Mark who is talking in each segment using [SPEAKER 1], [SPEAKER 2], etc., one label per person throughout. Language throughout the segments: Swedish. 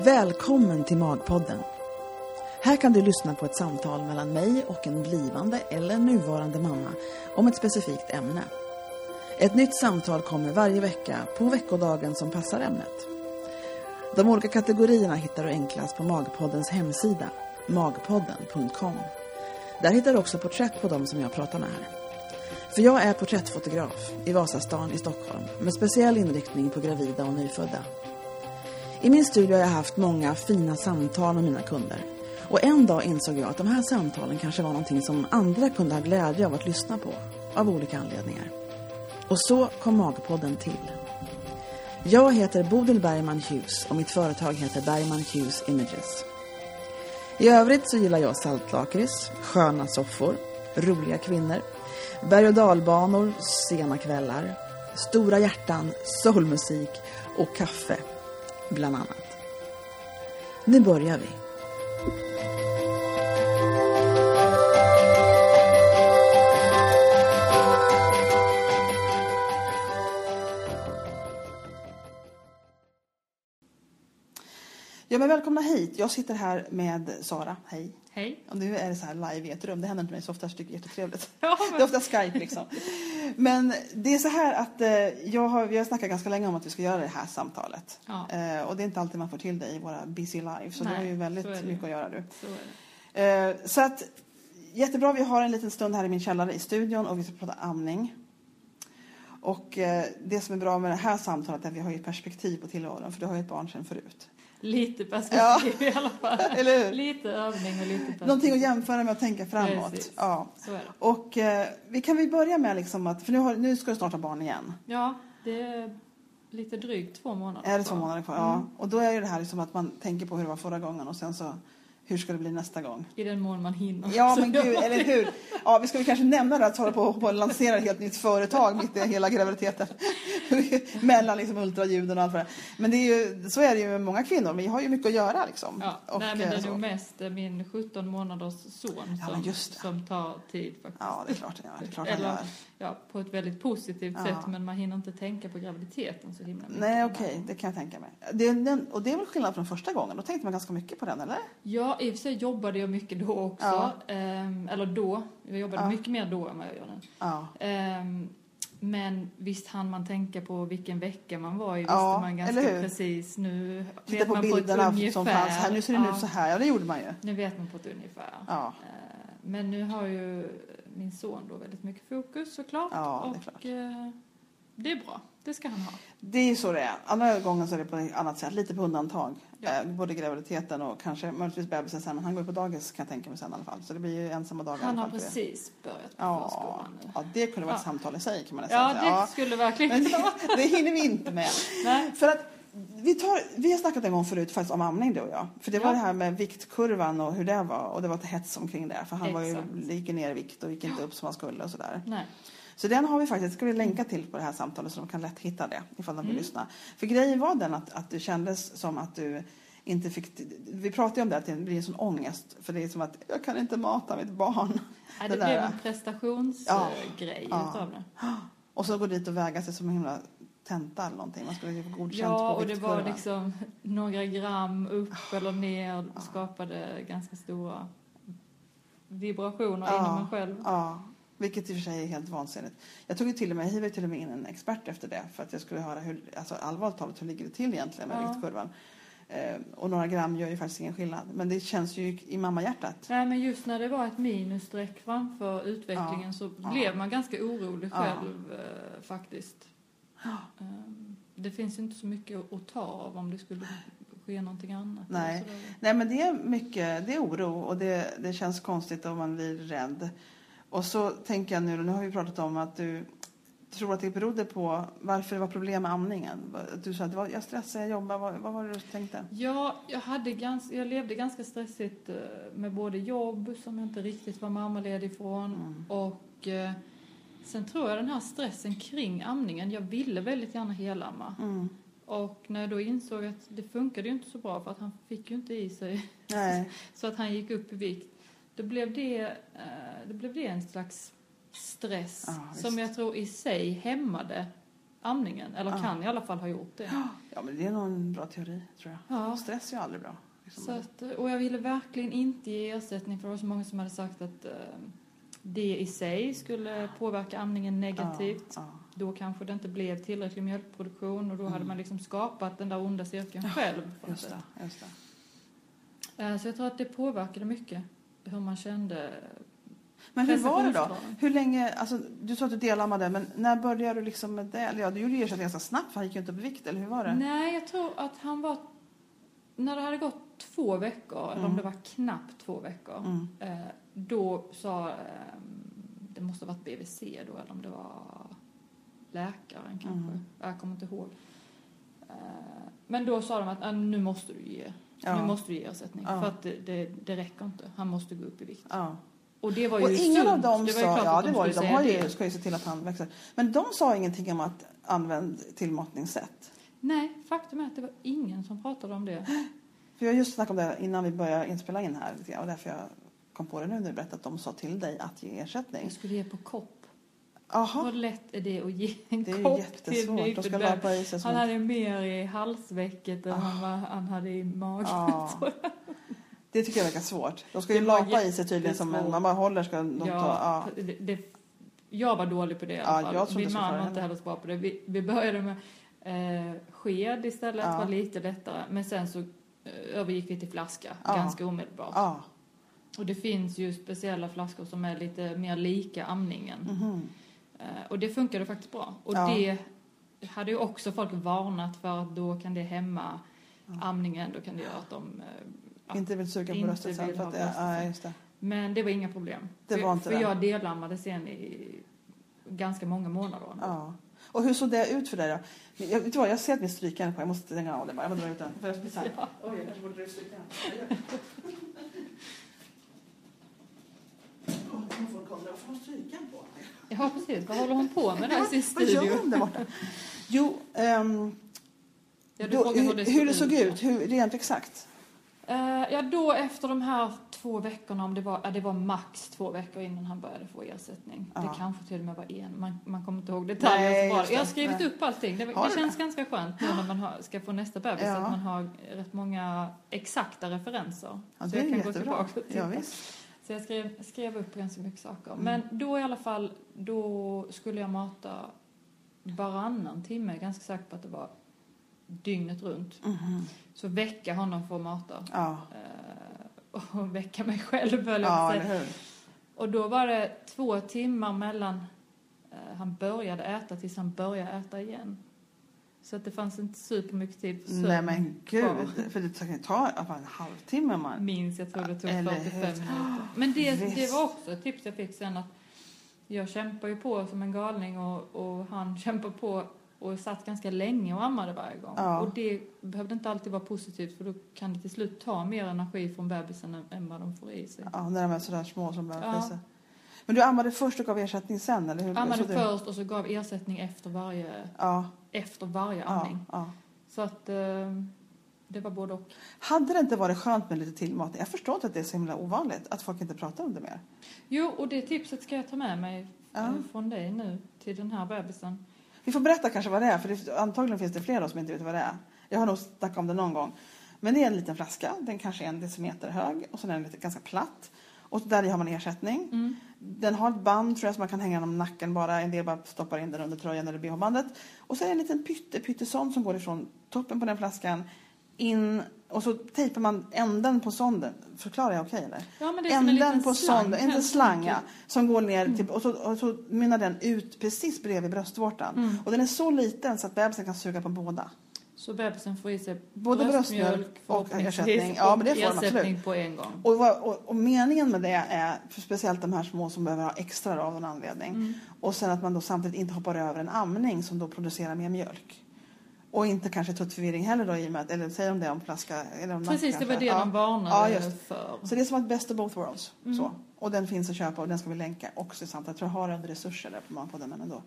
[SPEAKER 1] Välkommen till Magpodden. Här kan du lyssna på ett samtal mellan mig och en blivande eller nuvarande mamma om ett specifikt ämne. Ett nytt samtal kommer varje vecka på veckodagen som passar ämnet. De olika kategorierna hittar du enklast på Magpoddens hemsida, magpodden.com. Där hittar du också porträtt på dem som jag pratar med här. För jag är porträttfotograf i Vasastan i Stockholm med speciell inriktning på gravida och nyfödda. I min studio har jag haft många fina samtal med mina kunder. Och en dag insåg jag att de här samtalen kanske var någonting som andra kunde ha glädje av att lyssna på, av olika anledningar. Och så kom Magpodden till. Jag heter Bodil Bergman Hughes och mitt företag heter Bergman Hughes Images. I övrigt så gillar jag saltlakrits, sköna soffor, roliga kvinnor, berg och dalbanor, sena kvällar, stora hjärtan, soulmusik och kaffe, bland annat. Nu börjar vi. Ja, men välkomna hit. Jag sitter här med Sara. Hej.
[SPEAKER 2] Hej.
[SPEAKER 1] Och nu är det så här live i ett rum. Det händer inte mig så ofta. Jag tycker det är jättetrevligt.
[SPEAKER 2] Ja, men-
[SPEAKER 1] Det är ofta Skype liksom. Men det är så här att eh, jag har, vi har snackat ganska länge om att vi ska göra det här samtalet.
[SPEAKER 2] Ja,
[SPEAKER 1] Eh, och det är inte alltid man får till det i våra busy lives. Så du
[SPEAKER 2] Nej,
[SPEAKER 1] har ju väldigt
[SPEAKER 2] så är det ju.
[SPEAKER 1] mycket att göra du.
[SPEAKER 2] så är det.
[SPEAKER 1] Eh, så att, jättebra, vi har en liten stund här i min källare i studion och vi ska prata amning. Och eh, det som är bra med det här samtalet är att vi har ju ett perspektiv på tillvaron. För du har ju ett barn sedan förut.
[SPEAKER 2] Lite perspektiv i alla fall.
[SPEAKER 1] Eller hur?
[SPEAKER 2] Lite övning och lite perspektiv.
[SPEAKER 1] Någonting att jämföra med och tänka framåt.
[SPEAKER 2] Precis.
[SPEAKER 1] Ja.
[SPEAKER 2] Så är det.
[SPEAKER 1] Och eh, vi kan väl börja med liksom att, för nu, har, nu ska du snart ha barn igen.
[SPEAKER 2] Ja, det är lite drygt två månader
[SPEAKER 1] Är det två
[SPEAKER 2] kvar.
[SPEAKER 1] månader kvar? Ja.
[SPEAKER 2] Mm.
[SPEAKER 1] Och då är ju det här liksom att man tänker på hur det var förra gången och sen så hur ska det bli nästa gång?
[SPEAKER 2] I den mån man hinner.
[SPEAKER 1] Ja
[SPEAKER 2] Så
[SPEAKER 1] men
[SPEAKER 2] gör
[SPEAKER 1] gud,
[SPEAKER 2] man
[SPEAKER 1] eller
[SPEAKER 2] det.
[SPEAKER 1] hur? Ja, vi ska väl kanske nämna det att hålla på och lansera ett helt nytt företag mitt i hela graviditeten. Mellan liksom ultraljuden och allt vad det är. Men det är ju, så är det ju med många kvinnor, men jag har ju mycket att göra liksom.
[SPEAKER 2] Ja,
[SPEAKER 1] Och,
[SPEAKER 2] nej, men det
[SPEAKER 1] eh,
[SPEAKER 2] är
[SPEAKER 1] så.
[SPEAKER 2] nog mest eh, min 17 månaders son
[SPEAKER 1] Ja,
[SPEAKER 2] som,
[SPEAKER 1] men just det.
[SPEAKER 2] som tar tid faktiskt.
[SPEAKER 1] Ja, det är klart, ja, det är klart
[SPEAKER 2] Eller-
[SPEAKER 1] han gör.
[SPEAKER 2] Ja, på ett väldigt positivt
[SPEAKER 1] Ja.
[SPEAKER 2] sätt men man hinner inte tänka på graviditeten så himla mycket.
[SPEAKER 1] Nej, okej, det kan jag tänka mig. Det är, den, och det är väl skillnad från första gången? Då tänkte man ganska mycket på den, eller?
[SPEAKER 2] Ja, i och för sig jobbade jag mycket då också.
[SPEAKER 1] Ja.
[SPEAKER 2] Ehm, eller då. Jag jobbade
[SPEAKER 1] Ja.
[SPEAKER 2] mycket mer då än vad jag gör nu.
[SPEAKER 1] Ja.
[SPEAKER 2] Ehm, men visst hann man tänka på vilken vecka man var i, visste
[SPEAKER 1] Ja,
[SPEAKER 2] man
[SPEAKER 1] eller hur?
[SPEAKER 2] ganska precis. Nu
[SPEAKER 1] Titta
[SPEAKER 2] vet
[SPEAKER 1] på
[SPEAKER 2] man på ett
[SPEAKER 1] bilderna
[SPEAKER 2] ungefär.
[SPEAKER 1] som fanns här. Nu ser den
[SPEAKER 2] ja,
[SPEAKER 1] ut så här. Ja, det gjorde man ju.
[SPEAKER 2] Nu vet man på ett ungefär.
[SPEAKER 1] Ja,
[SPEAKER 2] Ehm, Men nu har ju min son då väldigt mycket fokus såklart.
[SPEAKER 1] Ja, det är
[SPEAKER 2] och
[SPEAKER 1] klart.
[SPEAKER 2] eh, det är bra, det ska han ha.
[SPEAKER 1] det är ju så det är. Andra gången så är det på ett annat sätt. Lite på undantag.
[SPEAKER 2] Ja.
[SPEAKER 1] Eh, Både graviditeten och kanske möjligtvis bebisen sen. Men han går ju på dagis kan jag tänka mig sen i alla fall. Så det blir ju ensamma dagar
[SPEAKER 2] Han
[SPEAKER 1] i alla
[SPEAKER 2] har
[SPEAKER 1] fall för det.
[SPEAKER 2] precis börjat på
[SPEAKER 1] Ja,
[SPEAKER 2] förskolan nu.
[SPEAKER 1] ja, det kunde vara ett
[SPEAKER 2] Ja.
[SPEAKER 1] samtal i sig kan man nästan
[SPEAKER 2] Ja,
[SPEAKER 1] säga.
[SPEAKER 2] det skulle verkligen
[SPEAKER 1] Men
[SPEAKER 2] kunna vara.
[SPEAKER 1] det, det hinner vi inte med.
[SPEAKER 2] Nej.
[SPEAKER 1] För att vi, tar, vi har snackat en gång förut faktiskt om amning du och jag. För det var
[SPEAKER 2] Ja.
[SPEAKER 1] det här med viktkurvan och hur det var. Och det var ett hets omkring det. För han var ju,
[SPEAKER 2] Exakt.
[SPEAKER 1] gick ner i vikt och gick inte upp som han skulle och sådär.
[SPEAKER 2] Nej.
[SPEAKER 1] Så den har vi faktiskt, ska vi länka till på det här samtalet så de kan lätt hitta det ifall de vill
[SPEAKER 2] Mm.
[SPEAKER 1] lyssna. För grejen var den att, att du kändes som att du inte fick, vi pratade ju om det att det blir en sån ångest för det är som att jag kan inte mata mitt barn.
[SPEAKER 2] Nej,
[SPEAKER 1] Det
[SPEAKER 2] det,
[SPEAKER 1] där,
[SPEAKER 2] blev
[SPEAKER 1] ja.
[SPEAKER 2] en
[SPEAKER 1] Ja.
[SPEAKER 2] prestationsgrej
[SPEAKER 1] Ja.
[SPEAKER 2] utav det.
[SPEAKER 1] Och så gå dit och väga sig som en himla tenta eller någonting. Man skulle ju få godkänt
[SPEAKER 2] Ja,
[SPEAKER 1] på Ah.
[SPEAKER 2] och det var
[SPEAKER 1] viktkurvan.
[SPEAKER 2] liksom några gram upp eller ner och skapade ganska stora vibrationer
[SPEAKER 1] Ja.
[SPEAKER 2] inom en själv.
[SPEAKER 1] Ja, vilket i och för sig är helt vansinnigt. Jag tog ju till och med, jag hivade till och med in en expert efter det för att jag skulle höra hur, alltså allvarligt talat, hur ligger det till egentligen med
[SPEAKER 2] Ja.
[SPEAKER 1] viktkurvan. Eh, och några gram gör ju faktiskt ingen skillnad. Men det känns ju i mammahjärtat.
[SPEAKER 2] Nej, men just när det var ett minusstreck framför utvecklingen så
[SPEAKER 1] Ja.
[SPEAKER 2] blev man ganska orolig
[SPEAKER 1] Ja.
[SPEAKER 2] själv eh, faktiskt. Ehm, Det finns ju inte så mycket att ta av om det skulle ske någonting annat. Alltså,
[SPEAKER 1] Nej.
[SPEAKER 2] Så då-
[SPEAKER 1] Nej men det är mycket, det är oro och det, det känns konstigt och man blir rädd. Och så tänker jag nu, nu har vi pratat om att du tror att det berodde på varför det var problem med amningen. Du sa att det var, jag stressade, jag jobbade, vad, vad var det du tänkte?
[SPEAKER 2] Ja, jag, hade ganska, jag levde ganska stressigt eh, med både jobb som jag inte riktigt var mammaledig ifrån
[SPEAKER 1] Mm.
[SPEAKER 2] och eh, sen tror jag den här stressen kring amningen, jag ville väldigt gärna helamma
[SPEAKER 1] Mm.
[SPEAKER 2] och när jag då insåg att det funkade ju inte så bra för att han fick ju inte i sig
[SPEAKER 1] Nej,
[SPEAKER 2] så att han gick upp i vikt, då blev det, eh, då blev det en slags stress
[SPEAKER 1] Ja, visst.
[SPEAKER 2] som jag tror i sig hämmade amningen. Eller kan i alla fall ha gjort det.
[SPEAKER 1] Ja, men det är nog en bra teori, tror jag.
[SPEAKER 2] Ja.
[SPEAKER 1] Stress är ju aldrig bra. Liksom.
[SPEAKER 2] Så att, och jag ville verkligen inte ge ersättning för det var så många som hade sagt att eh, det i sig skulle påverka amningen negativt.
[SPEAKER 1] Ja,
[SPEAKER 2] Då kanske det inte blev tillräcklig mjölkproduktion och då hade
[SPEAKER 1] Mm.
[SPEAKER 2] man liksom skapat den där onda cirkeln själv. på
[SPEAKER 1] ja,
[SPEAKER 2] något
[SPEAKER 1] just
[SPEAKER 2] sätt.
[SPEAKER 1] det. Just det.
[SPEAKER 2] Eh, Så jag tror att det påverkade mycket hur man kände.
[SPEAKER 1] Men hur var det då?
[SPEAKER 2] prestationsgraden.
[SPEAKER 1] Hur länge, alltså, du sa att du delammade, men när började du liksom med det? Eller ja, du gjorde ju ersättning ganska snabbt för han gick ju inte upp i vikt, eller hur var det?
[SPEAKER 2] Nej, jag tror att han var... När det hade gått två veckor, eller
[SPEAKER 1] Mm.
[SPEAKER 2] om det var knappt två veckor,
[SPEAKER 1] Mm.
[SPEAKER 2] eh, då sa... eh, Det måste ha varit BVC då, eller om det var läkaren kanske.
[SPEAKER 1] Mm.
[SPEAKER 2] Jag kommer inte ihåg. Eh, Men då sa de att "Ah, nu måste du ge, nu
[SPEAKER 1] Ja.
[SPEAKER 2] måste du ge ersättning
[SPEAKER 1] Ja.
[SPEAKER 2] för att det, det, det räcker inte. Han måste gå upp i vikt.
[SPEAKER 1] Ja.
[SPEAKER 2] Och det var ju
[SPEAKER 1] Och ingen av
[SPEAKER 2] sunt.
[SPEAKER 1] dem
[SPEAKER 2] Det var
[SPEAKER 1] sa,
[SPEAKER 2] ju klart
[SPEAKER 1] ja
[SPEAKER 2] att
[SPEAKER 1] det var ju, de
[SPEAKER 2] skulle
[SPEAKER 1] har
[SPEAKER 2] säga
[SPEAKER 1] ju,
[SPEAKER 2] det.
[SPEAKER 1] ska ju se till att han växer. Men de sa ingenting om att använd tillmatningssätt.
[SPEAKER 2] Nej, faktum är att det var ingen som pratade om det.
[SPEAKER 1] För jag har just snackat om det här innan vi började inspela in här lite grann, och därför jag kom på det nu när du berättade att de sa till dig att ge ersättning.
[SPEAKER 2] Jag skulle ge på kopp.
[SPEAKER 1] Jaha,
[SPEAKER 2] Hur lätt är det att ge en
[SPEAKER 1] det är ju
[SPEAKER 2] kopp till en
[SPEAKER 1] jättesvårt. De ska
[SPEAKER 2] nyfödd
[SPEAKER 1] lappa i sig
[SPEAKER 2] Han
[SPEAKER 1] små
[SPEAKER 2] hade mer i halsvecket än
[SPEAKER 1] Ah.
[SPEAKER 2] han, var, han hade i magen.
[SPEAKER 1] Ja.
[SPEAKER 2] tror
[SPEAKER 1] Det tycker jag verkar svårt. De ska ju
[SPEAKER 2] Det var
[SPEAKER 1] lapa i sig tydligen som en,
[SPEAKER 2] jättesvårt.
[SPEAKER 1] man bara håller ska de
[SPEAKER 2] jag.
[SPEAKER 1] ta. Ja.
[SPEAKER 2] det, det, jag var dålig på det i
[SPEAKER 1] Ja,
[SPEAKER 2] alla fall.
[SPEAKER 1] jag tror
[SPEAKER 2] Min
[SPEAKER 1] inte jag
[SPEAKER 2] man
[SPEAKER 1] skulle
[SPEAKER 2] var
[SPEAKER 1] klara
[SPEAKER 2] inte heller så bra på det. Vi, vi började med eh, sked istället,
[SPEAKER 1] Ja.
[SPEAKER 2] var lite lättare. Men sen så eh, övergick vi till flaska
[SPEAKER 1] Ja.
[SPEAKER 2] ganska omedelbart.
[SPEAKER 1] Ja.
[SPEAKER 2] Och det finns ju speciella flaskor som är lite mer lika amningen.
[SPEAKER 1] Mhm.
[SPEAKER 2] Eh, Och det funkade faktiskt bra. Och
[SPEAKER 1] Ja.
[SPEAKER 2] det hade ju också folk varnat för att då kan det hämma amningen, då kan det göra att de... eh, Ja.
[SPEAKER 1] Inte vill suga på
[SPEAKER 2] Inte
[SPEAKER 1] bröstet sen
[SPEAKER 2] vill
[SPEAKER 1] för
[SPEAKER 2] ha
[SPEAKER 1] att det,
[SPEAKER 2] bröstet
[SPEAKER 1] ja,
[SPEAKER 2] sen.
[SPEAKER 1] just det.
[SPEAKER 2] Men det var inga problem.
[SPEAKER 1] Det
[SPEAKER 2] för
[SPEAKER 1] var inte
[SPEAKER 2] för
[SPEAKER 1] det.
[SPEAKER 2] jag delammade sen i ganska många månader.
[SPEAKER 1] Ja. Och hur såg det ut för dig då? Men Jag, vet du vad, jag ser att min strykjärn är kvar. Jag måste stänga av den bara. Jag måste dra ut den. För jag blir så här.
[SPEAKER 2] Ja.
[SPEAKER 1] Oj, jag kanske borde dra ut strykjärn. Åh, nu får folk undra, varför har hon strykjärn på?
[SPEAKER 2] Ja, precis. Vad håller hon på med där i sin
[SPEAKER 1] Vad gör
[SPEAKER 2] studio?
[SPEAKER 1] hon där borta? Jo, ehm,
[SPEAKER 2] Ja, du
[SPEAKER 1] då,
[SPEAKER 2] frågar
[SPEAKER 1] hur, hur det såg ut, hur, rent exakt.
[SPEAKER 2] Eh, ja, då efter de här två veckorna, om det var, ja, det var max två veckor innan han började få ersättning.
[SPEAKER 1] Ja.
[SPEAKER 2] Det kanske till och med var en, man, man kommer inte ihåg detaljer
[SPEAKER 1] Nej,
[SPEAKER 2] så bra.
[SPEAKER 1] just det.
[SPEAKER 2] Jag har skrivit
[SPEAKER 1] Nej.
[SPEAKER 2] upp allting. Det,
[SPEAKER 1] Har
[SPEAKER 2] var-
[SPEAKER 1] du
[SPEAKER 2] det känns ganska skönt nu när man har, ska få nästa bebis
[SPEAKER 1] Ja.
[SPEAKER 2] att man har rätt många exakta referenser.
[SPEAKER 1] Ja,
[SPEAKER 2] så
[SPEAKER 1] det
[SPEAKER 2] jag
[SPEAKER 1] är
[SPEAKER 2] kan gå
[SPEAKER 1] jättebra.
[SPEAKER 2] tillbaka och titta.
[SPEAKER 1] Ja, visst.
[SPEAKER 2] Så jag skrev, skrev upp ganska mycket saker.
[SPEAKER 1] Mm.
[SPEAKER 2] Men då i alla fall, då skulle jag mata varannan timme. Jag är ganska säker på att det var dygnet runt.
[SPEAKER 1] Mhm.
[SPEAKER 2] Så väcka honom för att mata.
[SPEAKER 1] Ja,
[SPEAKER 2] Eh, och väcka mig själv höll jag på
[SPEAKER 1] ja
[SPEAKER 2] att
[SPEAKER 1] eller
[SPEAKER 2] säga.
[SPEAKER 1] hur.
[SPEAKER 2] Och då var det två timmar mellan eh, han började äta tills han började äta igen. Så att det fanns inte supermycket tid för
[SPEAKER 1] Nej men
[SPEAKER 2] kvar.
[SPEAKER 1] gud, för det kan ju ta ja, fan, en halvtimme man.
[SPEAKER 2] Minns jag tror det tog
[SPEAKER 1] Eller
[SPEAKER 2] 45
[SPEAKER 1] hur?
[SPEAKER 2] minuter. Men det, det
[SPEAKER 1] Visst.
[SPEAKER 2] var också ett tips jag fick sen att jag kämpar ju på som en galning och, och han kämpar på och satt ganska länge och ammade varje gång.
[SPEAKER 1] Ja.
[SPEAKER 2] Och det behövde inte alltid vara positivt för då kan det till slut ta mer energi från bebisen än, än vad de får i sig.
[SPEAKER 1] Ja, när de är sådär små som börjar
[SPEAKER 2] Ja.
[SPEAKER 1] frysa. Men du ammade först och gav ersättning sen eller hur?
[SPEAKER 2] Ammade
[SPEAKER 1] Så du-
[SPEAKER 2] först och så gav ersättning efter varje,
[SPEAKER 1] Ja,
[SPEAKER 2] efter varje
[SPEAKER 1] ja,
[SPEAKER 2] amning.
[SPEAKER 1] ja.
[SPEAKER 2] Så att eh, det var både och.
[SPEAKER 1] Hade det inte varit skönt med lite tillmatning? Jag förstår inte att det är så himla ovanligt att folk inte pratar om det mer.
[SPEAKER 2] Jo, och det tipset ska jag ta med mig
[SPEAKER 1] Ja.
[SPEAKER 2] eh, från dig nu till den här bebisen.
[SPEAKER 1] Vi får berätta kanske vad det är, för det, antagligen finns det flera som inte vet vad det är. Jag har nog snackat om det någon gång. Men det är en liten flaska, den kanske är en decimeter hög och så är den lite, ganska platt. Och där i har man ersättning.
[SPEAKER 2] Mm.
[SPEAKER 1] Den har ett band tror jag som man kan hänga om nacken bara. En del bara stoppar in den under tröjan eller bh-bandet. Och så är det en liten pytte, pyttesond som går ifrån toppen på den flaskan in och så tejpar man änden på sonden. Förklarar jag okej eller?
[SPEAKER 2] Ja, men det är som en
[SPEAKER 1] Änden
[SPEAKER 2] liten
[SPEAKER 1] på
[SPEAKER 2] slang. Mm.
[SPEAKER 1] sonden, inte
[SPEAKER 2] helt
[SPEAKER 1] slang ja,
[SPEAKER 2] enkelt.
[SPEAKER 1] som går ner till, och, så, och så mynnar den ut precis bredvid bröstvårtan.
[SPEAKER 2] Mm.
[SPEAKER 1] Och den är så liten så att bebisen kan suga på båda.
[SPEAKER 2] Så bebisen får i sig
[SPEAKER 1] Både bröstmjölk och ersättning. Ja, men det får de
[SPEAKER 2] ersättning
[SPEAKER 1] absolut.
[SPEAKER 2] på en gång.
[SPEAKER 1] Och, vad- och, och meningen med det är, för speciellt de här små som behöver ha extra då, av någon anledning,
[SPEAKER 2] Mm.
[SPEAKER 1] Och sen att man då samtidigt inte hoppar över en amning som då producerar mer mjölk. Och inte kanske tuttförvirring heller då i och med att, eller säger de det om flaska eller om nack
[SPEAKER 2] Precis, det
[SPEAKER 1] kanske?
[SPEAKER 2] var det
[SPEAKER 1] ja.
[SPEAKER 2] de
[SPEAKER 1] Ja,
[SPEAKER 2] varnade
[SPEAKER 1] just.
[SPEAKER 2] för.
[SPEAKER 1] Så det är som att best of both worlds.
[SPEAKER 2] Mm.
[SPEAKER 1] Så. Och den finns att köpa och den ska vi länka också. Sant? Jag tror jag har under resurser där på Manpodden men ändå.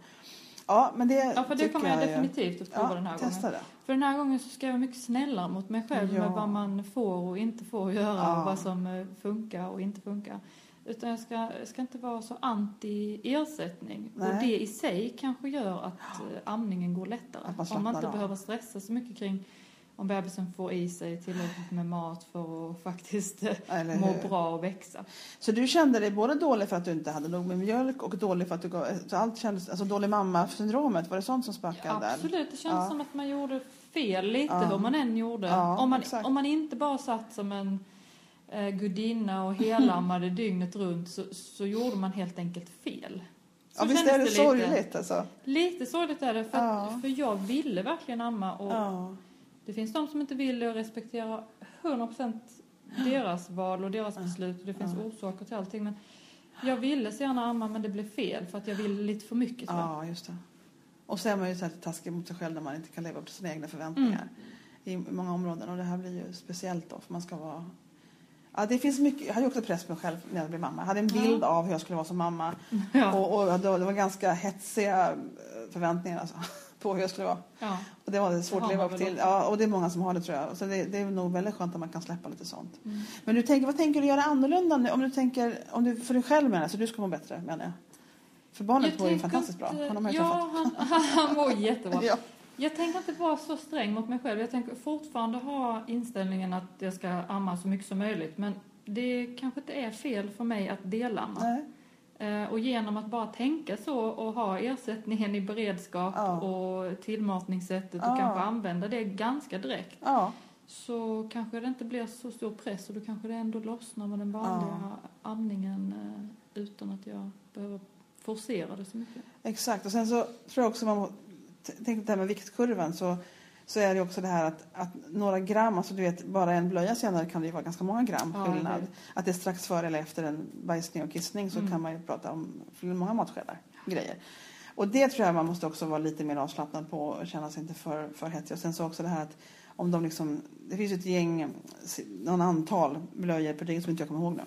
[SPEAKER 1] Ja, men det
[SPEAKER 2] Ja, för det
[SPEAKER 1] tycker
[SPEAKER 2] kommer jag
[SPEAKER 1] ju-
[SPEAKER 2] definitivt att prova
[SPEAKER 1] ja,
[SPEAKER 2] den här
[SPEAKER 1] testa
[SPEAKER 2] gången.
[SPEAKER 1] Det.
[SPEAKER 2] För den här gången så ska jag vara mycket snällare mot mig själv
[SPEAKER 1] Ja.
[SPEAKER 2] med vad man får och inte får göra
[SPEAKER 1] Ja.
[SPEAKER 2] och vad som eh, funkar och inte funkar. Utan jag ska, jag ska inte vara så anti ersättning. Och
[SPEAKER 1] Nej.
[SPEAKER 2] det i sig kanske gör att eh, amningen går lättare.
[SPEAKER 1] Att man
[SPEAKER 2] om man
[SPEAKER 1] slappnar
[SPEAKER 2] inte
[SPEAKER 1] av.
[SPEAKER 2] behöver stressa så mycket kring om bebisen får i sig tillräckligt med mat för att faktiskt eh,
[SPEAKER 1] Eller
[SPEAKER 2] må
[SPEAKER 1] hur?
[SPEAKER 2] bra och växa.
[SPEAKER 1] Så du kände dig både dålig för att du inte hade nog med mjölk och dålig för att du gav, så allt kändes, alltså dålig mamma-syndromet, var det sånt som spökade? där?
[SPEAKER 2] Absolut, det känns
[SPEAKER 1] Ja.
[SPEAKER 2] som att man gjorde fel lite
[SPEAKER 1] Ja.
[SPEAKER 2] hur man än gjorde.
[SPEAKER 1] Ja,
[SPEAKER 2] om, man,
[SPEAKER 1] exakt.
[SPEAKER 2] om man inte bara satt som en eh, gudinna och helammade dygnet runt så, så gjorde man helt enkelt fel. Så
[SPEAKER 1] Ja, visst
[SPEAKER 2] kändes
[SPEAKER 1] är det,
[SPEAKER 2] lite.
[SPEAKER 1] sorgligt alltså?
[SPEAKER 2] Lite sorgligt är det, för, att-
[SPEAKER 1] Ja.
[SPEAKER 2] för jag ville verkligen amma och
[SPEAKER 1] Ja.
[SPEAKER 2] det finns de som inte vill det och respekterar 100% deras val och deras beslut och det finns
[SPEAKER 1] Ja.
[SPEAKER 2] orsaker till allting. Men jag ville så gärna amma men det blev fel för att jag ville lite för mycket. tror jag.
[SPEAKER 1] ja, just det. Och så är man ju så här taskig mot sig själv när man inte kan leva upp till sina egna förväntningar
[SPEAKER 2] Mm.
[SPEAKER 1] i många områden och det här blir ju speciellt då för man ska vara Ja, det finns mycket. Jag hade ju också press på mig själv när jag blev mamma. Jag hade en
[SPEAKER 2] Ja.
[SPEAKER 1] bild av hur jag skulle vara som mamma.
[SPEAKER 2] Ja.
[SPEAKER 1] Och, och det var- det var ganska hetsiga eh, förväntningar alltså, på hur jag skulle vara.
[SPEAKER 2] Ja.
[SPEAKER 1] Och det var det svårt
[SPEAKER 2] Det har
[SPEAKER 1] att leva
[SPEAKER 2] man
[SPEAKER 1] upp
[SPEAKER 2] väl
[SPEAKER 1] till.
[SPEAKER 2] också.
[SPEAKER 1] Ja, och det är många som har det tror jag. Så det, det är nog väldigt skönt att man kan släppa lite sånt.
[SPEAKER 2] Mm.
[SPEAKER 1] Men du tänker, vad tänker du göra annorlunda nu? Om du tänker, om du, för dig själv menar jag, så du ska må bättre menar jag. För barnet mår ju
[SPEAKER 2] tänker
[SPEAKER 1] fantastiskt bra.
[SPEAKER 2] inte-
[SPEAKER 1] Honom har jag
[SPEAKER 2] ja, han, han mår jättebra.
[SPEAKER 1] träffat. Ja.
[SPEAKER 2] Jag tänker inte vara så sträng mot mig själv. Jag tänker fortfarande ha inställningen att jag ska amma så mycket som möjligt. Men det kanske inte är fel för mig att delamma.
[SPEAKER 1] Nej.
[SPEAKER 2] Eh, Och genom att bara tänka så och ha ersättningen i beredskap
[SPEAKER 1] Ja.
[SPEAKER 2] och tillmatningssättet
[SPEAKER 1] Ja.
[SPEAKER 2] och kanske använda det ganska direkt
[SPEAKER 1] Ja.
[SPEAKER 2] så kanske det inte blir så stor press och då kanske det ändå lossnar med den vanliga amningen eh, utan att jag behöver forcera det så mycket.
[SPEAKER 1] Exakt, och sen så tror jag också man må- t- tänkte det här med viktkurvan så, så är det också det här att, att några gram, alltså du vet bara en blöja senare kan det ju vara ganska många gram
[SPEAKER 2] Ja, jag
[SPEAKER 1] skillnad.
[SPEAKER 2] vet.
[SPEAKER 1] att det är strax före eller efter en bajsning och kissning så
[SPEAKER 2] Mm.
[SPEAKER 1] kan man ju prata om många matskedar, grejer. Och det tror jag man måste också vara lite mer avslappnad på och känna sig inte för, för hetsig. Och sen så också det här att om de liksom, det finns ju ett gäng, någon antal blöjor per dygn som inte jag kommer ihåg nu.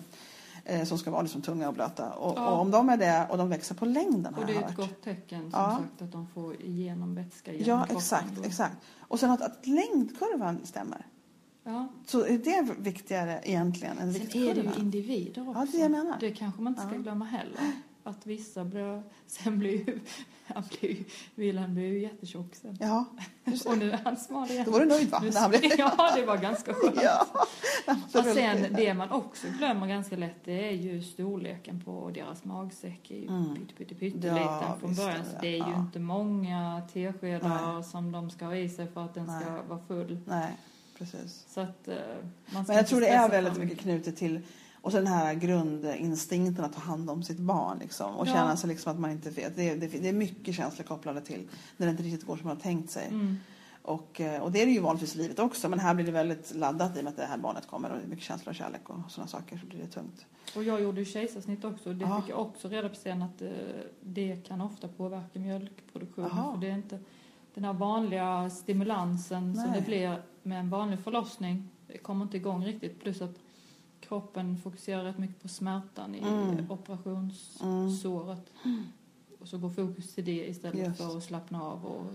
[SPEAKER 1] eh, Som ska vara liksom tunga och blöta. Och,
[SPEAKER 2] Ja.
[SPEAKER 1] och om de är det och de växer på längden har
[SPEAKER 2] Och det
[SPEAKER 1] jag
[SPEAKER 2] är ett
[SPEAKER 1] hört.
[SPEAKER 2] gott tecken som
[SPEAKER 1] Ja.
[SPEAKER 2] sagt att de får igenom vätska genom
[SPEAKER 1] Ja,
[SPEAKER 2] kroppen
[SPEAKER 1] exakt,
[SPEAKER 2] då.
[SPEAKER 1] exakt. Och sen att, att längdkurvan stämmer.
[SPEAKER 2] Ja.
[SPEAKER 1] Så är det viktigare egentligen än
[SPEAKER 2] Sen är det ju
[SPEAKER 1] viktkurvan?
[SPEAKER 2] individer också.
[SPEAKER 1] Ja, det jag menar.
[SPEAKER 2] Det kanske man inte ska
[SPEAKER 1] Ja.
[SPEAKER 2] glömma heller. Att vissa blir... Sen blir ju... Han blir ju... Wilhelm blir ju jättetjock sen.
[SPEAKER 1] Ja, just
[SPEAKER 2] Och
[SPEAKER 1] det.
[SPEAKER 2] nu är han smal igen.
[SPEAKER 1] Då var du nöjd va?
[SPEAKER 2] Nu-
[SPEAKER 1] När han blev...
[SPEAKER 2] Ja, det var ganska skönt.
[SPEAKER 1] Ja.
[SPEAKER 2] Och sen det man också glömmer ganska lätt det är ju storleken på deras magsäck är ju
[SPEAKER 1] Mm.
[SPEAKER 2] pytte, pytte, pytteliten
[SPEAKER 1] Ja,
[SPEAKER 2] från
[SPEAKER 1] visst är
[SPEAKER 2] början.
[SPEAKER 1] det.
[SPEAKER 2] Så det är ju
[SPEAKER 1] Ja.
[SPEAKER 2] inte många teskedar som de ska ha i sig för att den ska
[SPEAKER 1] Nej.
[SPEAKER 2] vara full.
[SPEAKER 1] Nej, precis.
[SPEAKER 2] Så att eh, man ska
[SPEAKER 1] Men jag
[SPEAKER 2] inte
[SPEAKER 1] tror det är
[SPEAKER 2] stressa
[SPEAKER 1] väldigt
[SPEAKER 2] fram.
[SPEAKER 1] mycket knutet till och sen den här grundinstinkten att ta hand om sitt barn liksom, och
[SPEAKER 2] Ja.
[SPEAKER 1] känna sig liksom att man inte vet. Det är, det, det är mycket känslor kopplade till när det inte riktigt går som man har tänkt sig.
[SPEAKER 2] Mm.
[SPEAKER 1] Och, eh, och det är det ju vanligtvis i livet också men här blir det väldigt laddat i och med att det här barnet kommer och det är mycket känslor och kärlek och sådana saker så blir det tungt.
[SPEAKER 2] Och jag gjorde ju kejsarsnitt också och det
[SPEAKER 1] Ja.
[SPEAKER 2] fick jag också reda på sen att eh, det kan ofta påverka mjölkproduktionen
[SPEAKER 1] Jaha.
[SPEAKER 2] för det är inte den här vanliga stimulansen som
[SPEAKER 1] Nej.
[SPEAKER 2] det blir med en vanlig förlossning det kommer inte igång riktigt plus att kroppen fokuserar rätt mycket på smärtan i
[SPEAKER 1] Mm.
[SPEAKER 2] eh, operationssåret
[SPEAKER 1] Mm.
[SPEAKER 2] och så går fokus till det istället
[SPEAKER 1] Just.
[SPEAKER 2] för att slappna av och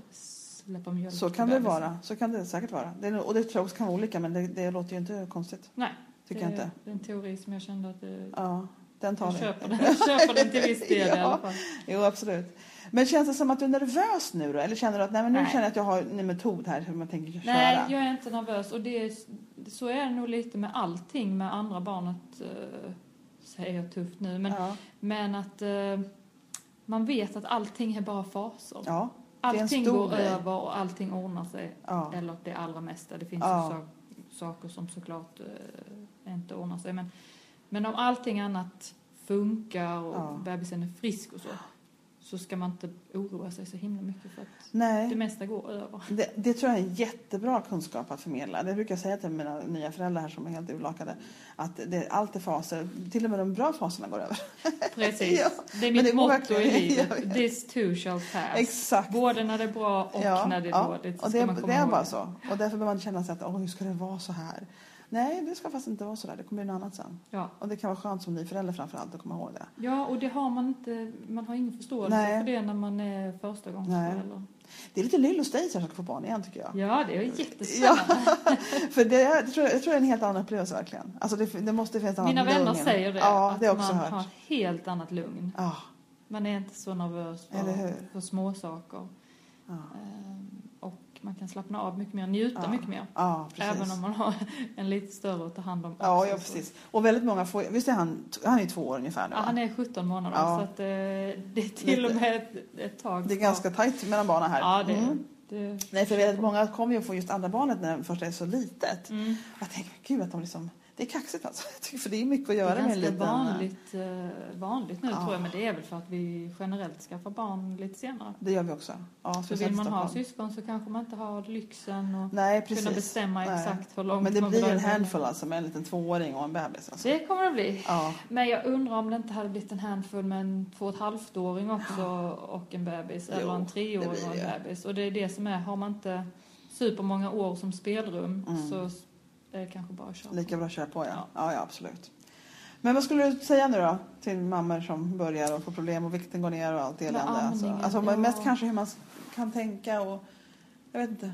[SPEAKER 2] släppa mjölk
[SPEAKER 1] Så
[SPEAKER 2] till
[SPEAKER 1] kan det
[SPEAKER 2] bebisen.
[SPEAKER 1] vara. Så kan det säkert vara. Det, är nog- och det tror jag också kan vara olika men det, det låter ju inte konstigt.
[SPEAKER 2] Nej,
[SPEAKER 1] Tycker
[SPEAKER 2] det,
[SPEAKER 1] jag inte.
[SPEAKER 2] Det är en teori som jag kände att eh,
[SPEAKER 1] Ja, den tar
[SPEAKER 2] jag
[SPEAKER 1] vi.
[SPEAKER 2] köper den, köper den till viss del i
[SPEAKER 1] Ja.
[SPEAKER 2] alla fall.
[SPEAKER 1] Jo, absolut. Men känns det som att du är nervös nu då? Eller känner du att nej, men nu
[SPEAKER 2] Nej.
[SPEAKER 1] känner jag att jag har en metod här hur man tänker köra?
[SPEAKER 2] Nej, jag är inte nervös. Och det är, så är det nog lite med allting med andra barnet, eh, säger jag tufft nu. Men,
[SPEAKER 1] ja.
[SPEAKER 2] men att eh, man vet att allting är bara faser.
[SPEAKER 1] Ja, är en
[SPEAKER 2] allting
[SPEAKER 1] stor
[SPEAKER 2] går
[SPEAKER 1] grej.
[SPEAKER 2] över och allting ordnar sig.
[SPEAKER 1] ja.
[SPEAKER 2] Eller det allra mesta. Det finns
[SPEAKER 1] Ja.
[SPEAKER 2] ju sak, saker som såklart eh, inte ordnar sig. Men, men om allting annat funkar och
[SPEAKER 1] Ja.
[SPEAKER 2] bebisen är frisk och så, så ska man inte oroa sig så himla mycket för att det
[SPEAKER 1] Nej,
[SPEAKER 2] mesta går över.
[SPEAKER 1] det, det tror jag är en jättebra kunskap att förmedla. Det brukar jag säga till mina nya föräldrar här som är helt urlakade. Att det, allt är faser, till och med de bra faserna går över.
[SPEAKER 2] Precis.
[SPEAKER 1] Ja,
[SPEAKER 2] det
[SPEAKER 1] men
[SPEAKER 2] är mitt
[SPEAKER 1] det går
[SPEAKER 2] motto
[SPEAKER 1] verkligen-
[SPEAKER 2] i
[SPEAKER 1] jag vet.
[SPEAKER 2] livet. This too shall pass.
[SPEAKER 1] Exakt.
[SPEAKER 2] Både när det är bra Alltså, och
[SPEAKER 1] Ja,
[SPEAKER 2] när det är
[SPEAKER 1] ja.
[SPEAKER 2] dåligt. så
[SPEAKER 1] Och
[SPEAKER 2] ska
[SPEAKER 1] det,
[SPEAKER 2] man komma
[SPEAKER 1] det är
[SPEAKER 2] ihåg
[SPEAKER 1] bara
[SPEAKER 2] det.
[SPEAKER 1] så. Och därför behöver man inte känna sig att åh, hur ska det vara så här? Nej, det ska faktiskt inte vara så där. Det kommer bli något annat sen.
[SPEAKER 2] Ja.
[SPEAKER 1] Och det kan vara skönt som ny förälder framför allt att komma ihåg det.
[SPEAKER 2] ja, och det har man inte. Man har ingen förståelse
[SPEAKER 1] Nej.
[SPEAKER 2] för det när man är första gångs
[SPEAKER 1] Nej.
[SPEAKER 2] förälder.
[SPEAKER 1] Det är lite lill hos dig som ska få barn igen tycker jag.
[SPEAKER 2] Ja, det är jättespännande.
[SPEAKER 1] För det, är- jag, tror, jag tror det är en helt annan upplevelse verkligen. Alltså det, det måste finnas en
[SPEAKER 2] Mina
[SPEAKER 1] annan
[SPEAKER 2] vänner
[SPEAKER 1] lugn.
[SPEAKER 2] säger det.
[SPEAKER 1] Ja,
[SPEAKER 2] att
[SPEAKER 1] det har jag också
[SPEAKER 2] man
[SPEAKER 1] hört.
[SPEAKER 2] har helt annat lugn.
[SPEAKER 1] Ja,
[SPEAKER 2] Man är inte så nervös
[SPEAKER 1] Eller hur?
[SPEAKER 2] för, för småsaker.
[SPEAKER 1] ja,
[SPEAKER 2] Ehm, Och man kan slappna av mycket mer, njuta
[SPEAKER 1] Ja,
[SPEAKER 2] mycket mer.
[SPEAKER 1] ja, precis.
[SPEAKER 2] Även om man har en lite större att ta hand om.
[SPEAKER 1] Ja,
[SPEAKER 2] också.
[SPEAKER 1] ja, precis. Och väldigt många får, visst är han, han är ju två år ungefär nu
[SPEAKER 2] Ja,
[SPEAKER 1] va?
[SPEAKER 2] han är 17 månader
[SPEAKER 1] Ja.
[SPEAKER 2] så att, eh, det är till och med ett, ett tag
[SPEAKER 1] Det är
[SPEAKER 2] kvar.
[SPEAKER 1] ganska tajt mellan barnen här.
[SPEAKER 2] Ja, det,
[SPEAKER 1] Mm.
[SPEAKER 2] det
[SPEAKER 1] Nej, för väldigt många kommer ju att få just andra barnet när det första är så litet.
[SPEAKER 2] Mm.
[SPEAKER 1] Jag tänker, men gud att de liksom, det är kaxigt alltså. Jag tycker, För det är mycket att
[SPEAKER 2] Det
[SPEAKER 1] göra med
[SPEAKER 2] är
[SPEAKER 1] en
[SPEAKER 2] ganska
[SPEAKER 1] liten...
[SPEAKER 2] vanligt, eh, vanligt nu
[SPEAKER 1] Ja.
[SPEAKER 2] tror jag, men det är väl för att vi generellt skaffar barn lite senare.
[SPEAKER 1] Det gör vi också. Ja,
[SPEAKER 2] Så
[SPEAKER 1] speciellt
[SPEAKER 2] vill
[SPEAKER 1] i
[SPEAKER 2] man ha
[SPEAKER 1] Stockholm.
[SPEAKER 2] syskon så kanske man inte har lyxen och
[SPEAKER 1] Nej,
[SPEAKER 2] kunna
[SPEAKER 1] precis.
[SPEAKER 2] bestämma
[SPEAKER 1] Nej.
[SPEAKER 2] exakt hur långt
[SPEAKER 1] Men det
[SPEAKER 2] man
[SPEAKER 1] blir
[SPEAKER 2] vill
[SPEAKER 1] en
[SPEAKER 2] ha det.
[SPEAKER 1] handfull alltså med en liten tvååring och en bebis. Alltså.
[SPEAKER 2] Det kommer det bli.
[SPEAKER 1] Ja,
[SPEAKER 2] Men jag undrar om det inte hade blivit en handfull med en två och ett halvt-åring också och en bebis.
[SPEAKER 1] Jo,
[SPEAKER 2] eller en treåring
[SPEAKER 1] det blir
[SPEAKER 2] och en
[SPEAKER 1] det.
[SPEAKER 2] bebis. Och det är det som är, har man inte supermånga år som spelrum
[SPEAKER 1] Mm.
[SPEAKER 2] så är det kanske bara att köra.
[SPEAKER 1] lika bra att köra på ja.
[SPEAKER 2] Ja.
[SPEAKER 1] Ja, ja absolut. Men vad skulle du säga nu då till mammor som börjar och får problem och vikten går ner och allt
[SPEAKER 2] Med
[SPEAKER 1] elände? Alltså,
[SPEAKER 2] amningen,
[SPEAKER 1] alltså men mest
[SPEAKER 2] ja.
[SPEAKER 1] kanske hur man kan tänka och jag vet inte.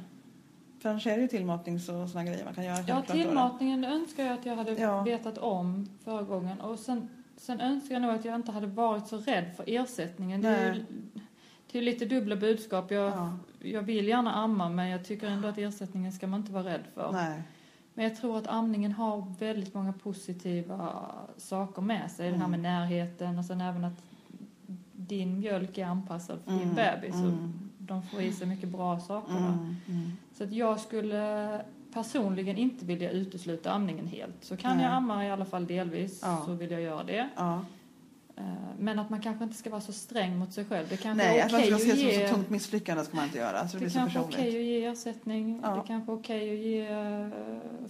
[SPEAKER 1] För annars är det ju tillmatnings och såna grejer man kan göra.
[SPEAKER 2] Ja,
[SPEAKER 1] självklart då.
[SPEAKER 2] tillmatningen önskar jag att jag hade
[SPEAKER 1] Ja.
[SPEAKER 2] vetat om förra gången. Och sen, sen önskar jag nog att jag inte hade varit så rädd för ersättningen. Det är, ju,
[SPEAKER 1] Nej.
[SPEAKER 2] det är ju lite dubbla budskap. Jag,
[SPEAKER 1] Ja,
[SPEAKER 2] jag vill gärna amma men jag tycker ändå att ersättningen ska man inte vara rädd för.
[SPEAKER 1] nej.
[SPEAKER 2] Men jag tror att amningen har väldigt många positiva saker med sig. Det här
[SPEAKER 1] Mm.
[SPEAKER 2] med närheten och sen även att din mjölk är anpassad för
[SPEAKER 1] Mm,
[SPEAKER 2] din bebis. Och
[SPEAKER 1] mm.
[SPEAKER 2] de får i sig mycket bra saker. va?
[SPEAKER 1] Mm, mm.
[SPEAKER 2] Så att jag skulle personligen inte vilja utesluta amningen helt. Så kan
[SPEAKER 1] Nej.
[SPEAKER 2] jag amma i alla fall delvis
[SPEAKER 1] Ja.
[SPEAKER 2] så vill jag göra det.
[SPEAKER 1] Ja.
[SPEAKER 2] Eh, Men att man kanske inte ska vara så sträng mot sig själv. Det kanske
[SPEAKER 1] Nej,
[SPEAKER 2] är
[SPEAKER 1] att man
[SPEAKER 2] okej
[SPEAKER 1] ska se
[SPEAKER 2] att
[SPEAKER 1] det som
[SPEAKER 2] ge...
[SPEAKER 1] så tungt misslyckande ska man inte göra. Alltså, det, blir
[SPEAKER 2] det
[SPEAKER 1] så
[SPEAKER 2] kanske är
[SPEAKER 1] personligt.
[SPEAKER 2] okej att ge ersättning.
[SPEAKER 1] Ja.
[SPEAKER 2] Det kanske är okej att ge eh,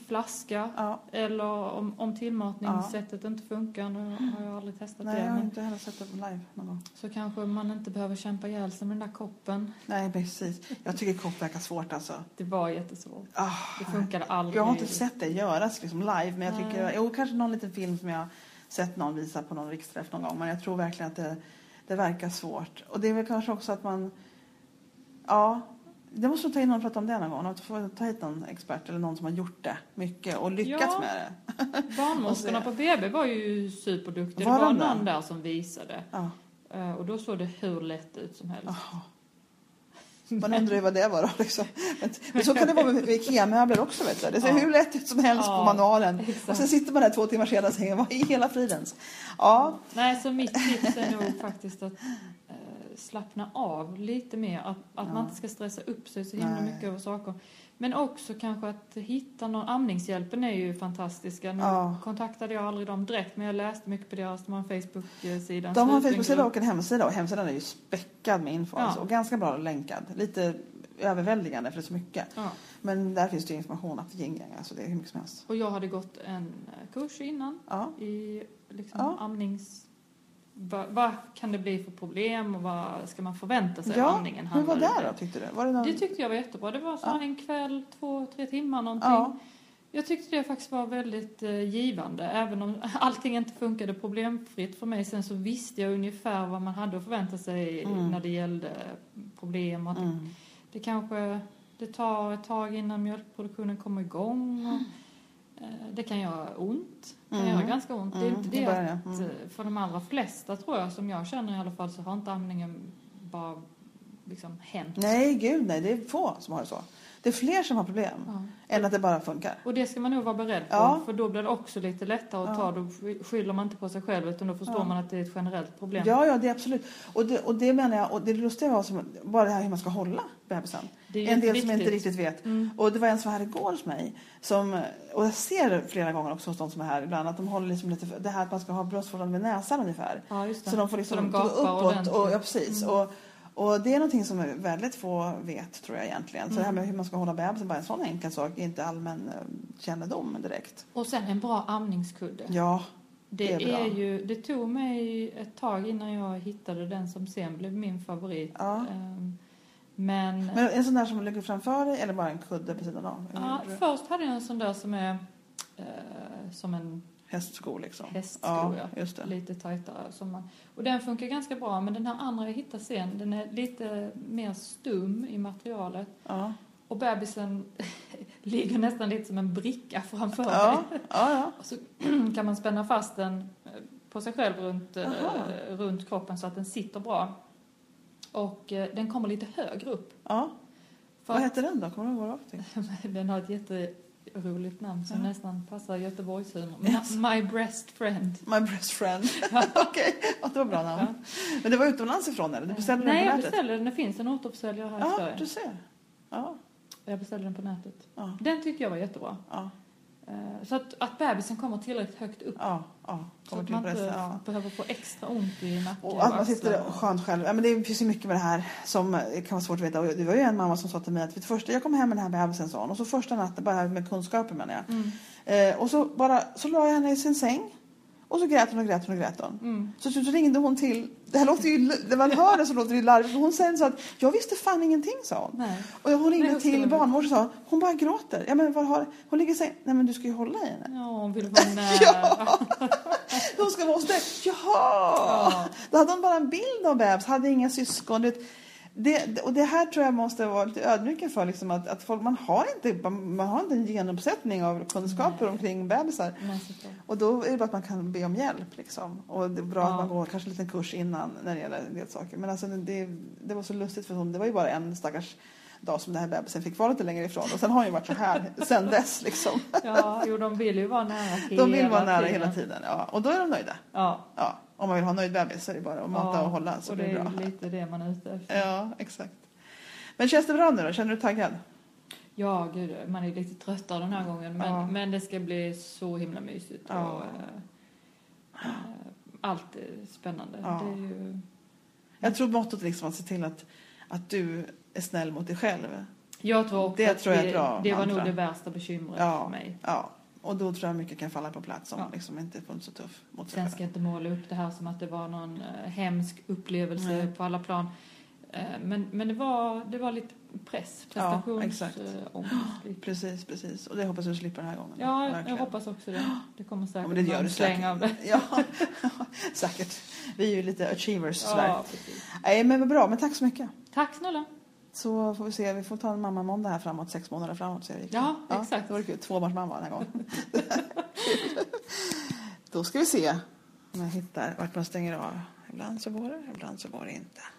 [SPEAKER 2] flaska.
[SPEAKER 1] Ja,
[SPEAKER 2] Eller om, om
[SPEAKER 1] Ja.
[SPEAKER 2] tillmatningssättet inte funkar. Nu har jag aldrig testat
[SPEAKER 1] nej,
[SPEAKER 2] det.
[SPEAKER 1] jag har
[SPEAKER 2] Men
[SPEAKER 1] inte heller sett det live någon gång.
[SPEAKER 2] så kanske man inte behöver kämpa ihjäl sig med den där koppen.
[SPEAKER 1] Nej, precis. Jag tycker kopp verkar svårt alltså.
[SPEAKER 2] Det var jättesvårt.
[SPEAKER 1] Ah,
[SPEAKER 2] Det funkade aldrig.
[SPEAKER 1] jag har inte sett det göras liksom, live, men jag
[SPEAKER 2] Nej.
[SPEAKER 1] tycker... Jo, kanske någon liten film som jag sett någon visa på någon riksträff någon gång. Men jag tror verkligen att det, det verkar svårt. Och det är väl kanske också att man... Ja, det måste vi ta in någon och prata om det någon gång. Att få ta hit någon expert eller någon som har gjort det mycket och lyckats
[SPEAKER 2] Ja.
[SPEAKER 1] med det.
[SPEAKER 2] Barnmorskorna
[SPEAKER 1] Och se.
[SPEAKER 2] på BB var ju superduktiga.
[SPEAKER 1] alltså- Var
[SPEAKER 2] det var
[SPEAKER 1] de det?
[SPEAKER 2] någon där som visade.
[SPEAKER 1] Ja.
[SPEAKER 2] Eh, Och då såg det hur lätt ut som helst.
[SPEAKER 1] Jaha. Man undrar ju vad det var då. Liksom. Men så kan det vara med IKEA-möbler också. Vet du. Det ser
[SPEAKER 2] Ja.
[SPEAKER 1] hur lätt ut som helst på
[SPEAKER 2] Ja,
[SPEAKER 1] manualen.
[SPEAKER 2] exakt.
[SPEAKER 1] Och sen sitter man där två timmar senare och tänker, vad i hela fridens? Ja,
[SPEAKER 2] Nej, så mitt tips är nog faktiskt att eh, slappna av lite mer. Att, att
[SPEAKER 1] Ja.
[SPEAKER 2] man inte ska stressa upp sig så himla
[SPEAKER 1] Nej.
[SPEAKER 2] mycket över saker. Men också kanske att hitta någon. Amningshjälpen är ju fantastiska. Nu
[SPEAKER 1] Ja.
[SPEAKER 2] kontaktade jag aldrig dem direkt men jag läste mycket på deras de har en Facebook-sida.
[SPEAKER 1] de har en
[SPEAKER 2] sluten
[SPEAKER 1] Facebook-sida
[SPEAKER 2] grupp.
[SPEAKER 1] och en hemsida. Och hemsidan är ju späckad med info.
[SPEAKER 2] Ja.
[SPEAKER 1] Alltså, och ganska bra länkad. Lite överväldigande för det är så mycket.
[SPEAKER 2] Ja.
[SPEAKER 1] Men där finns det ju information att gänga. Alltså, det är hur mycket som helst.
[SPEAKER 2] Och jag hade gått en eh, kurs innan
[SPEAKER 1] Ja,
[SPEAKER 2] i liksom
[SPEAKER 1] Ja.
[SPEAKER 2] amnings... Vad, vad kan det bli för problem och vad ska man förvänta sig av
[SPEAKER 1] ja.
[SPEAKER 2] amningen?
[SPEAKER 1] hur var
[SPEAKER 2] handlar
[SPEAKER 1] det
[SPEAKER 2] det
[SPEAKER 1] då tyckte du? Var det någon...
[SPEAKER 2] Det tyckte jag var jättebra. Det var så här en kväll, två, tre timmar någonting.
[SPEAKER 1] ja.
[SPEAKER 2] Jag tyckte det faktiskt var väldigt eh, givande. Även om allting inte funkade problemfritt för mig sen så visste jag ungefär vad man hade att förvänta sig
[SPEAKER 1] Mm.
[SPEAKER 2] när det gällde problem. Och att
[SPEAKER 1] Mm.
[SPEAKER 2] Det kanske det tar ett tag innan mjölkproduktionen kommer igång. Och, eh, det kan göra ont. Det kan
[SPEAKER 1] Mm.
[SPEAKER 2] göra ganska ont. Det är
[SPEAKER 1] Mm.
[SPEAKER 2] inte
[SPEAKER 1] Det
[SPEAKER 2] det
[SPEAKER 1] börjar
[SPEAKER 2] att,
[SPEAKER 1] jag. Mm.
[SPEAKER 2] eh, för de allra flesta tror jag, som jag känner i alla fall, så har inte amningen bara liksom hänt.
[SPEAKER 1] Nej, gud nej. Det är få som har det så. Det är fler som har problem.
[SPEAKER 2] Ja.
[SPEAKER 1] Än att det bara funkar.
[SPEAKER 2] Och det ska man nog vara beredd på,
[SPEAKER 1] Ja.
[SPEAKER 2] för då blir det också lite lättare att
[SPEAKER 1] Ja.
[SPEAKER 2] ta. Då skyller man inte på sig själv utan då förstår
[SPEAKER 1] Ja.
[SPEAKER 2] man att det är ett generellt problem.
[SPEAKER 1] Ja, ja, det är absolut. Och det, och det menar jag, och det lustiga var som, bara det här hur man ska hålla bebisen.
[SPEAKER 2] Det är ju
[SPEAKER 1] En del som
[SPEAKER 2] viktigt.
[SPEAKER 1] inte riktigt vet.
[SPEAKER 2] Mm.
[SPEAKER 1] Och det var en som var här igår hos mig, som, och jag ser det flera gånger också hos de som är här ibland, att de håller liksom lite, det här att man ska ha bröstvårdan vid näsan ungefär.
[SPEAKER 2] Ja, just det.
[SPEAKER 1] Så de får liksom
[SPEAKER 2] Så de
[SPEAKER 1] gå
[SPEAKER 2] gapar
[SPEAKER 1] uppåt.
[SPEAKER 2] ordentligt. Mm.
[SPEAKER 1] Och, ja, precis. Och, och det är någonting som väldigt få vet tror jag egentligen. Så det här med
[SPEAKER 2] Mm.
[SPEAKER 1] hur man ska hålla bebisen, bara en sån enkel sak, är inte allmän eh, kännedom direkt.
[SPEAKER 2] Och sen en bra amningskudde.
[SPEAKER 1] Ja,
[SPEAKER 2] det,
[SPEAKER 1] det är bra.
[SPEAKER 2] är ju, det tog mig ett tag innan jag hittade den som sen blev min favorit.
[SPEAKER 1] Ja.
[SPEAKER 2] Ehm, Men,
[SPEAKER 1] men en sån där som ligger framför dig eller bara en kudde på sidan av?
[SPEAKER 2] ja, först hade jag en sån där som är eh, som en
[SPEAKER 1] hästskor liksom.
[SPEAKER 2] Hästskor, ja.
[SPEAKER 1] Just det.
[SPEAKER 2] lite tajtare. Som man, och den funkar ganska bra, men den här andra jag hittade sen, den är lite mer stum i materialet.
[SPEAKER 1] Ja.
[SPEAKER 2] Och bebisen ligger nästan lite som en bricka framför
[SPEAKER 1] Ja,
[SPEAKER 2] mig.
[SPEAKER 1] ja, ja.
[SPEAKER 2] Och så kan man spänna fast den eh, på sig själv runt, eh,
[SPEAKER 1] Aha.
[SPEAKER 2] runt kroppen så att den sitter bra. Och eh, den kommer lite högre upp.
[SPEAKER 1] ja.
[SPEAKER 2] För
[SPEAKER 1] Vad
[SPEAKER 2] att-
[SPEAKER 1] hette den då? Kommer du ihåg vad det var för någonting?
[SPEAKER 2] Den har ett jätteroligt namn som
[SPEAKER 1] Ja.
[SPEAKER 2] nästan passar Göteborgshumor.
[SPEAKER 1] Yes.
[SPEAKER 2] My, my breast friend.
[SPEAKER 1] My best friend. Okej, ja, det var bra namn. Men det var utomlands ifrån eller? Du beställde
[SPEAKER 2] Nej,
[SPEAKER 1] den på
[SPEAKER 2] jag
[SPEAKER 1] nätet?
[SPEAKER 2] beställde den. Det finns en återförsäljare här i
[SPEAKER 1] Ja,
[SPEAKER 2] Sverige.
[SPEAKER 1] du ser. Ja,
[SPEAKER 2] Jag beställde den på nätet.
[SPEAKER 1] ja,
[SPEAKER 2] Den tyckte jag var jättebra.
[SPEAKER 1] ja,
[SPEAKER 2] Eh, Så att, att bebisen kommer tillräckligt högt upp
[SPEAKER 1] ja. ja.
[SPEAKER 2] så
[SPEAKER 1] Kommer
[SPEAKER 2] att
[SPEAKER 1] till
[SPEAKER 2] man
[SPEAKER 1] pressen.
[SPEAKER 2] inte
[SPEAKER 1] Ja.
[SPEAKER 2] behöver få extra ont i nacken
[SPEAKER 1] Och att man
[SPEAKER 2] axlar.
[SPEAKER 1] sitter skönt själv. Ja, men det finns ju mycket med det här som kan vara svårt att veta. Och det var ju en mamma som sa till mig att vid första, jag kom hem med den här bebisen sa hon. Och så första natten, bara här med kunskapen menar jag.
[SPEAKER 2] Mm,
[SPEAKER 1] Eh, och så bara, så la jag henne i sin säng. Och så grät hon och grät hon och grät hon.
[SPEAKER 2] mm.
[SPEAKER 1] Så, så ringde hon till, det här låter ju, när man hör det så låter det ju larvigt. Hon sen sa att jag visste fan ingenting sa hon.
[SPEAKER 2] Nej.
[SPEAKER 1] Och hon
[SPEAKER 2] Nej,
[SPEAKER 1] ringde
[SPEAKER 2] hur ska
[SPEAKER 1] till
[SPEAKER 2] man-
[SPEAKER 1] barnmorskan och sa hon bara gråter. Ja, men vad har... Hon ligger i säng. Nej men du ska ju hålla i henne.
[SPEAKER 2] Ja, hon vill vara nära.
[SPEAKER 1] Ja. De ska vara hos dig. Jaha!
[SPEAKER 2] Ja.
[SPEAKER 1] Då hade hon bara en bild av bebis, hade inga syskon. du Vet. Det, och det här tror jag måste vara lite ödmjuk inför. Liksom, att, att folk, man, har inte, man har inte en genomuppsättning av kunskaper
[SPEAKER 2] Nej.
[SPEAKER 1] omkring bebisar.
[SPEAKER 2] Men såklart.
[SPEAKER 1] Och då är det bara att man kan be om hjälp. Liksom. Och det är bra
[SPEAKER 2] Ja.
[SPEAKER 1] att man går kanske en liten kurs innan när det gäller en del saker. Men alltså, det, det var så lustigt för hon, det var ju bara en stackars dag som den här bebisen fick vara lite längre ifrån. Och sen har hon ju varit så här sen dess. Liksom.
[SPEAKER 2] Ja, jo, de vill ju vara nära hela
[SPEAKER 1] De vill vara nära hela tiden. Ja. Och då är de nöjda.
[SPEAKER 2] Ja,
[SPEAKER 1] Ja. Om man vill ha en nöjd bebis så är det bara att mata
[SPEAKER 2] Ja,
[SPEAKER 1] och hålla så
[SPEAKER 2] och
[SPEAKER 1] blir
[SPEAKER 2] det
[SPEAKER 1] det bra.
[SPEAKER 2] är ju lite det man är ute efter.
[SPEAKER 1] Ja, exakt. Men känns det bra nu då? Känner du taggad?
[SPEAKER 2] Ja, gud, man är lite tröttare den här gången. Men,
[SPEAKER 1] Ja.
[SPEAKER 2] men det ska bli så himla mysigt.
[SPEAKER 1] Ja.
[SPEAKER 2] Och, eh, eh, allt är spännande.
[SPEAKER 1] Ja.
[SPEAKER 2] Det är ju, Mm.
[SPEAKER 1] Jag tror mottot liksom att se till att, att du är snäll mot dig själv.
[SPEAKER 2] jag tror också
[SPEAKER 1] Det
[SPEAKER 2] att
[SPEAKER 1] tror jag är
[SPEAKER 2] det,
[SPEAKER 1] ett bra
[SPEAKER 2] det var
[SPEAKER 1] mantra.
[SPEAKER 2] nog det värsta bekymret
[SPEAKER 1] Ja.
[SPEAKER 2] för mig.
[SPEAKER 1] Ja. Och då tror jag mycket kan falla på plats om
[SPEAKER 2] Ja.
[SPEAKER 1] man liksom inte är fullt så tuff mot sig
[SPEAKER 2] Sen ska
[SPEAKER 1] själv.
[SPEAKER 2] jag inte måla upp det här som att det var någon eh, hemsk upplevelse
[SPEAKER 1] Nej.
[SPEAKER 2] på alla plan. Eh, Men, men det, var, det var lite press, eh,
[SPEAKER 1] Ja,
[SPEAKER 2] prestationsångest.
[SPEAKER 1] exakt. Precis, precis. Och det hoppas du slipper den här gången.
[SPEAKER 2] Ja, jag, jag
[SPEAKER 1] Verkligen.
[SPEAKER 2] hoppas också det. Det kommer
[SPEAKER 1] Ja,
[SPEAKER 2] säkert
[SPEAKER 1] men det gör
[SPEAKER 2] någon
[SPEAKER 1] du
[SPEAKER 2] släng av det.
[SPEAKER 1] säkert. Ja, säkert. Vi är ju lite achievers
[SPEAKER 2] Ja,
[SPEAKER 1] sådär.
[SPEAKER 2] precis.
[SPEAKER 1] Nej, men vad bra. Men tack så mycket.
[SPEAKER 2] Tack snälla.
[SPEAKER 1] Så får vi se, vi får ta en mammamåndag här framåt, sex månader framåt. Så vi.
[SPEAKER 2] Ja, exakt.
[SPEAKER 1] Det var kul, tvåbarnsmamma den här gången. Då ska vi se om jag hittar vart man stänger av. Ibland så går det, ibland så går det inte.